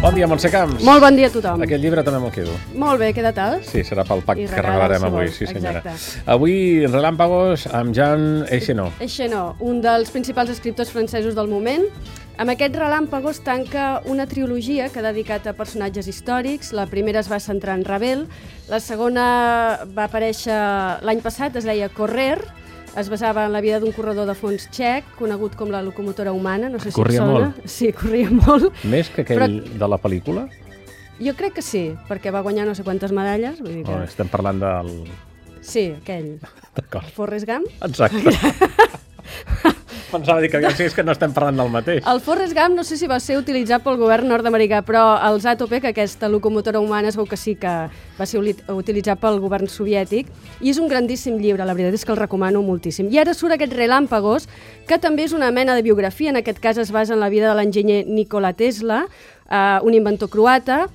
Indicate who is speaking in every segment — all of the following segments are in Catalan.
Speaker 1: Bon dia, Montse Camps.
Speaker 2: Molt bon dia a tothom.
Speaker 1: Aquest llibre també me'l quedo.
Speaker 2: Molt bé, queda tal?
Speaker 1: Sí, serà pel pack
Speaker 2: I
Speaker 1: que
Speaker 2: regala,
Speaker 1: regalarem
Speaker 2: si
Speaker 1: avui,
Speaker 2: vols.
Speaker 1: sí senyora.
Speaker 2: Exacte.
Speaker 1: Avui, Relàmpagos amb Jan Eixenó.
Speaker 2: Echeno, un dels principals escriptors francesos del moment. Amb aquests relàmpagos tanca una trilogia que ha dedicat a personatges històrics. La primera es va centrar en Ravel, la segona va aparèixer l'any passat, es deia Correr, es basava en la vida d'un corredor de fons txec, conegut com la locomotora humana, no sé si et
Speaker 1: Corria
Speaker 2: sona.
Speaker 1: molt.
Speaker 2: Sí, corria molt.
Speaker 1: Més que aquell
Speaker 2: Però-
Speaker 1: de la pel·lícula?
Speaker 2: Jo crec que sí, perquè va guanyar no sé quantes medalles. Vull dir
Speaker 1: O
Speaker 2: que...
Speaker 1: estem parlant del...
Speaker 2: Sí, aquell.
Speaker 1: D'acord,
Speaker 2: Forrest Gump.
Speaker 1: exacte. Pensava dir que aviam si és que no estem parlant del mateix.
Speaker 2: El Forrest Gump no sé si va ser utilitzat pel govern nord-americà, però el Zatopek, que aquesta locomotora humana, es veu que sí que va ser uli- utilitzat pel govern soviètic, i és un grandíssim llibre, la veritat és que el recomano moltíssim. I ara surt aquest Relàmpagos, que també és una mena de biografia, en aquest cas es basa en la vida de l'enginyer Nikola Tesla, eh, un inventor croata,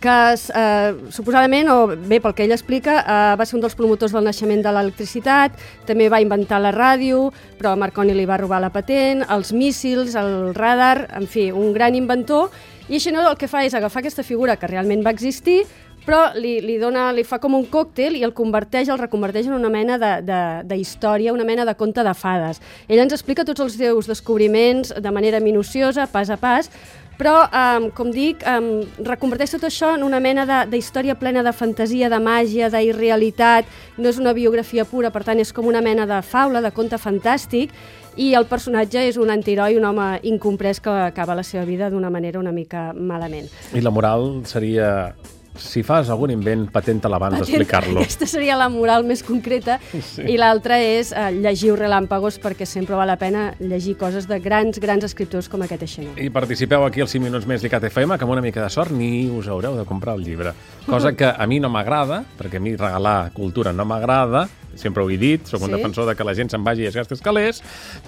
Speaker 2: que es, eh, suposadament, o bé pel que ell explica, eh, va ser un dels promotors del naixement de l'electricitat, també va inventar la ràdio, però a Marconi li va robar la patent, els míssils, el radar, en fi, un gran inventor, i això no el que fa és agafar aquesta figura que realment va existir, però li, li, dona, li fa com un còctel i el converteix, el reconverteix en una mena de, de, de història, una mena de conte de fades. Ell ens explica tots els seus descobriments de manera minuciosa, pas a pas, però, um, com dic, um, reconverteix tot això en una mena de, de història plena de fantasia, de màgia, d'irrealitat, no és una biografia pura, per tant, és com una mena de faula, de conte fantàstic, i el personatge és un antiroi, un home incomprès que acaba la seva vida d'una manera una mica malament.
Speaker 1: I la moral seria... Si fas algun invent, patenta-la abans d'explicar-lo.
Speaker 2: Aquesta seria la moral més concreta sí. i l'altra és eh, llegiu relàmpagos perquè sempre val la pena llegir coses de grans, grans escriptors com aquest Eixenó.
Speaker 1: I participeu aquí als 5 minuts més d'ICAT FM, que amb una mica de sort ni us haureu de comprar el llibre. Cosa que a mi no m'agrada, perquè a mi regalar cultura no m'agrada, sempre ho he dit, sóc un
Speaker 2: Sí?
Speaker 1: defensor de que la gent se'n vagi i es gasti els calés,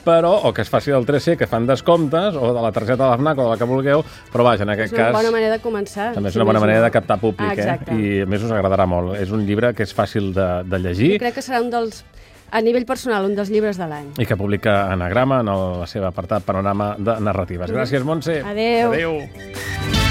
Speaker 1: però, o que es faci del 3C, que fan descomptes, o de la targeta de l'AFNAC, o de la que vulgueu, però vaja, en
Speaker 2: És
Speaker 1: aquest
Speaker 2: una
Speaker 1: cas...
Speaker 2: bona manera de començar.
Speaker 1: També és una bona
Speaker 2: s'imagina.
Speaker 1: manera de captar públic,
Speaker 2: ah, exacte.
Speaker 1: eh? I a més us agradarà molt. És un llibre que és fàcil de, de llegir
Speaker 2: Jo crec que serà un dels, a nivell personal, un dels llibres de l'any.
Speaker 1: i que publica Anagrama en el, la seva apartat Panorama de Narratives. Gràcies, Montse.
Speaker 2: Adeu.
Speaker 1: Adeu.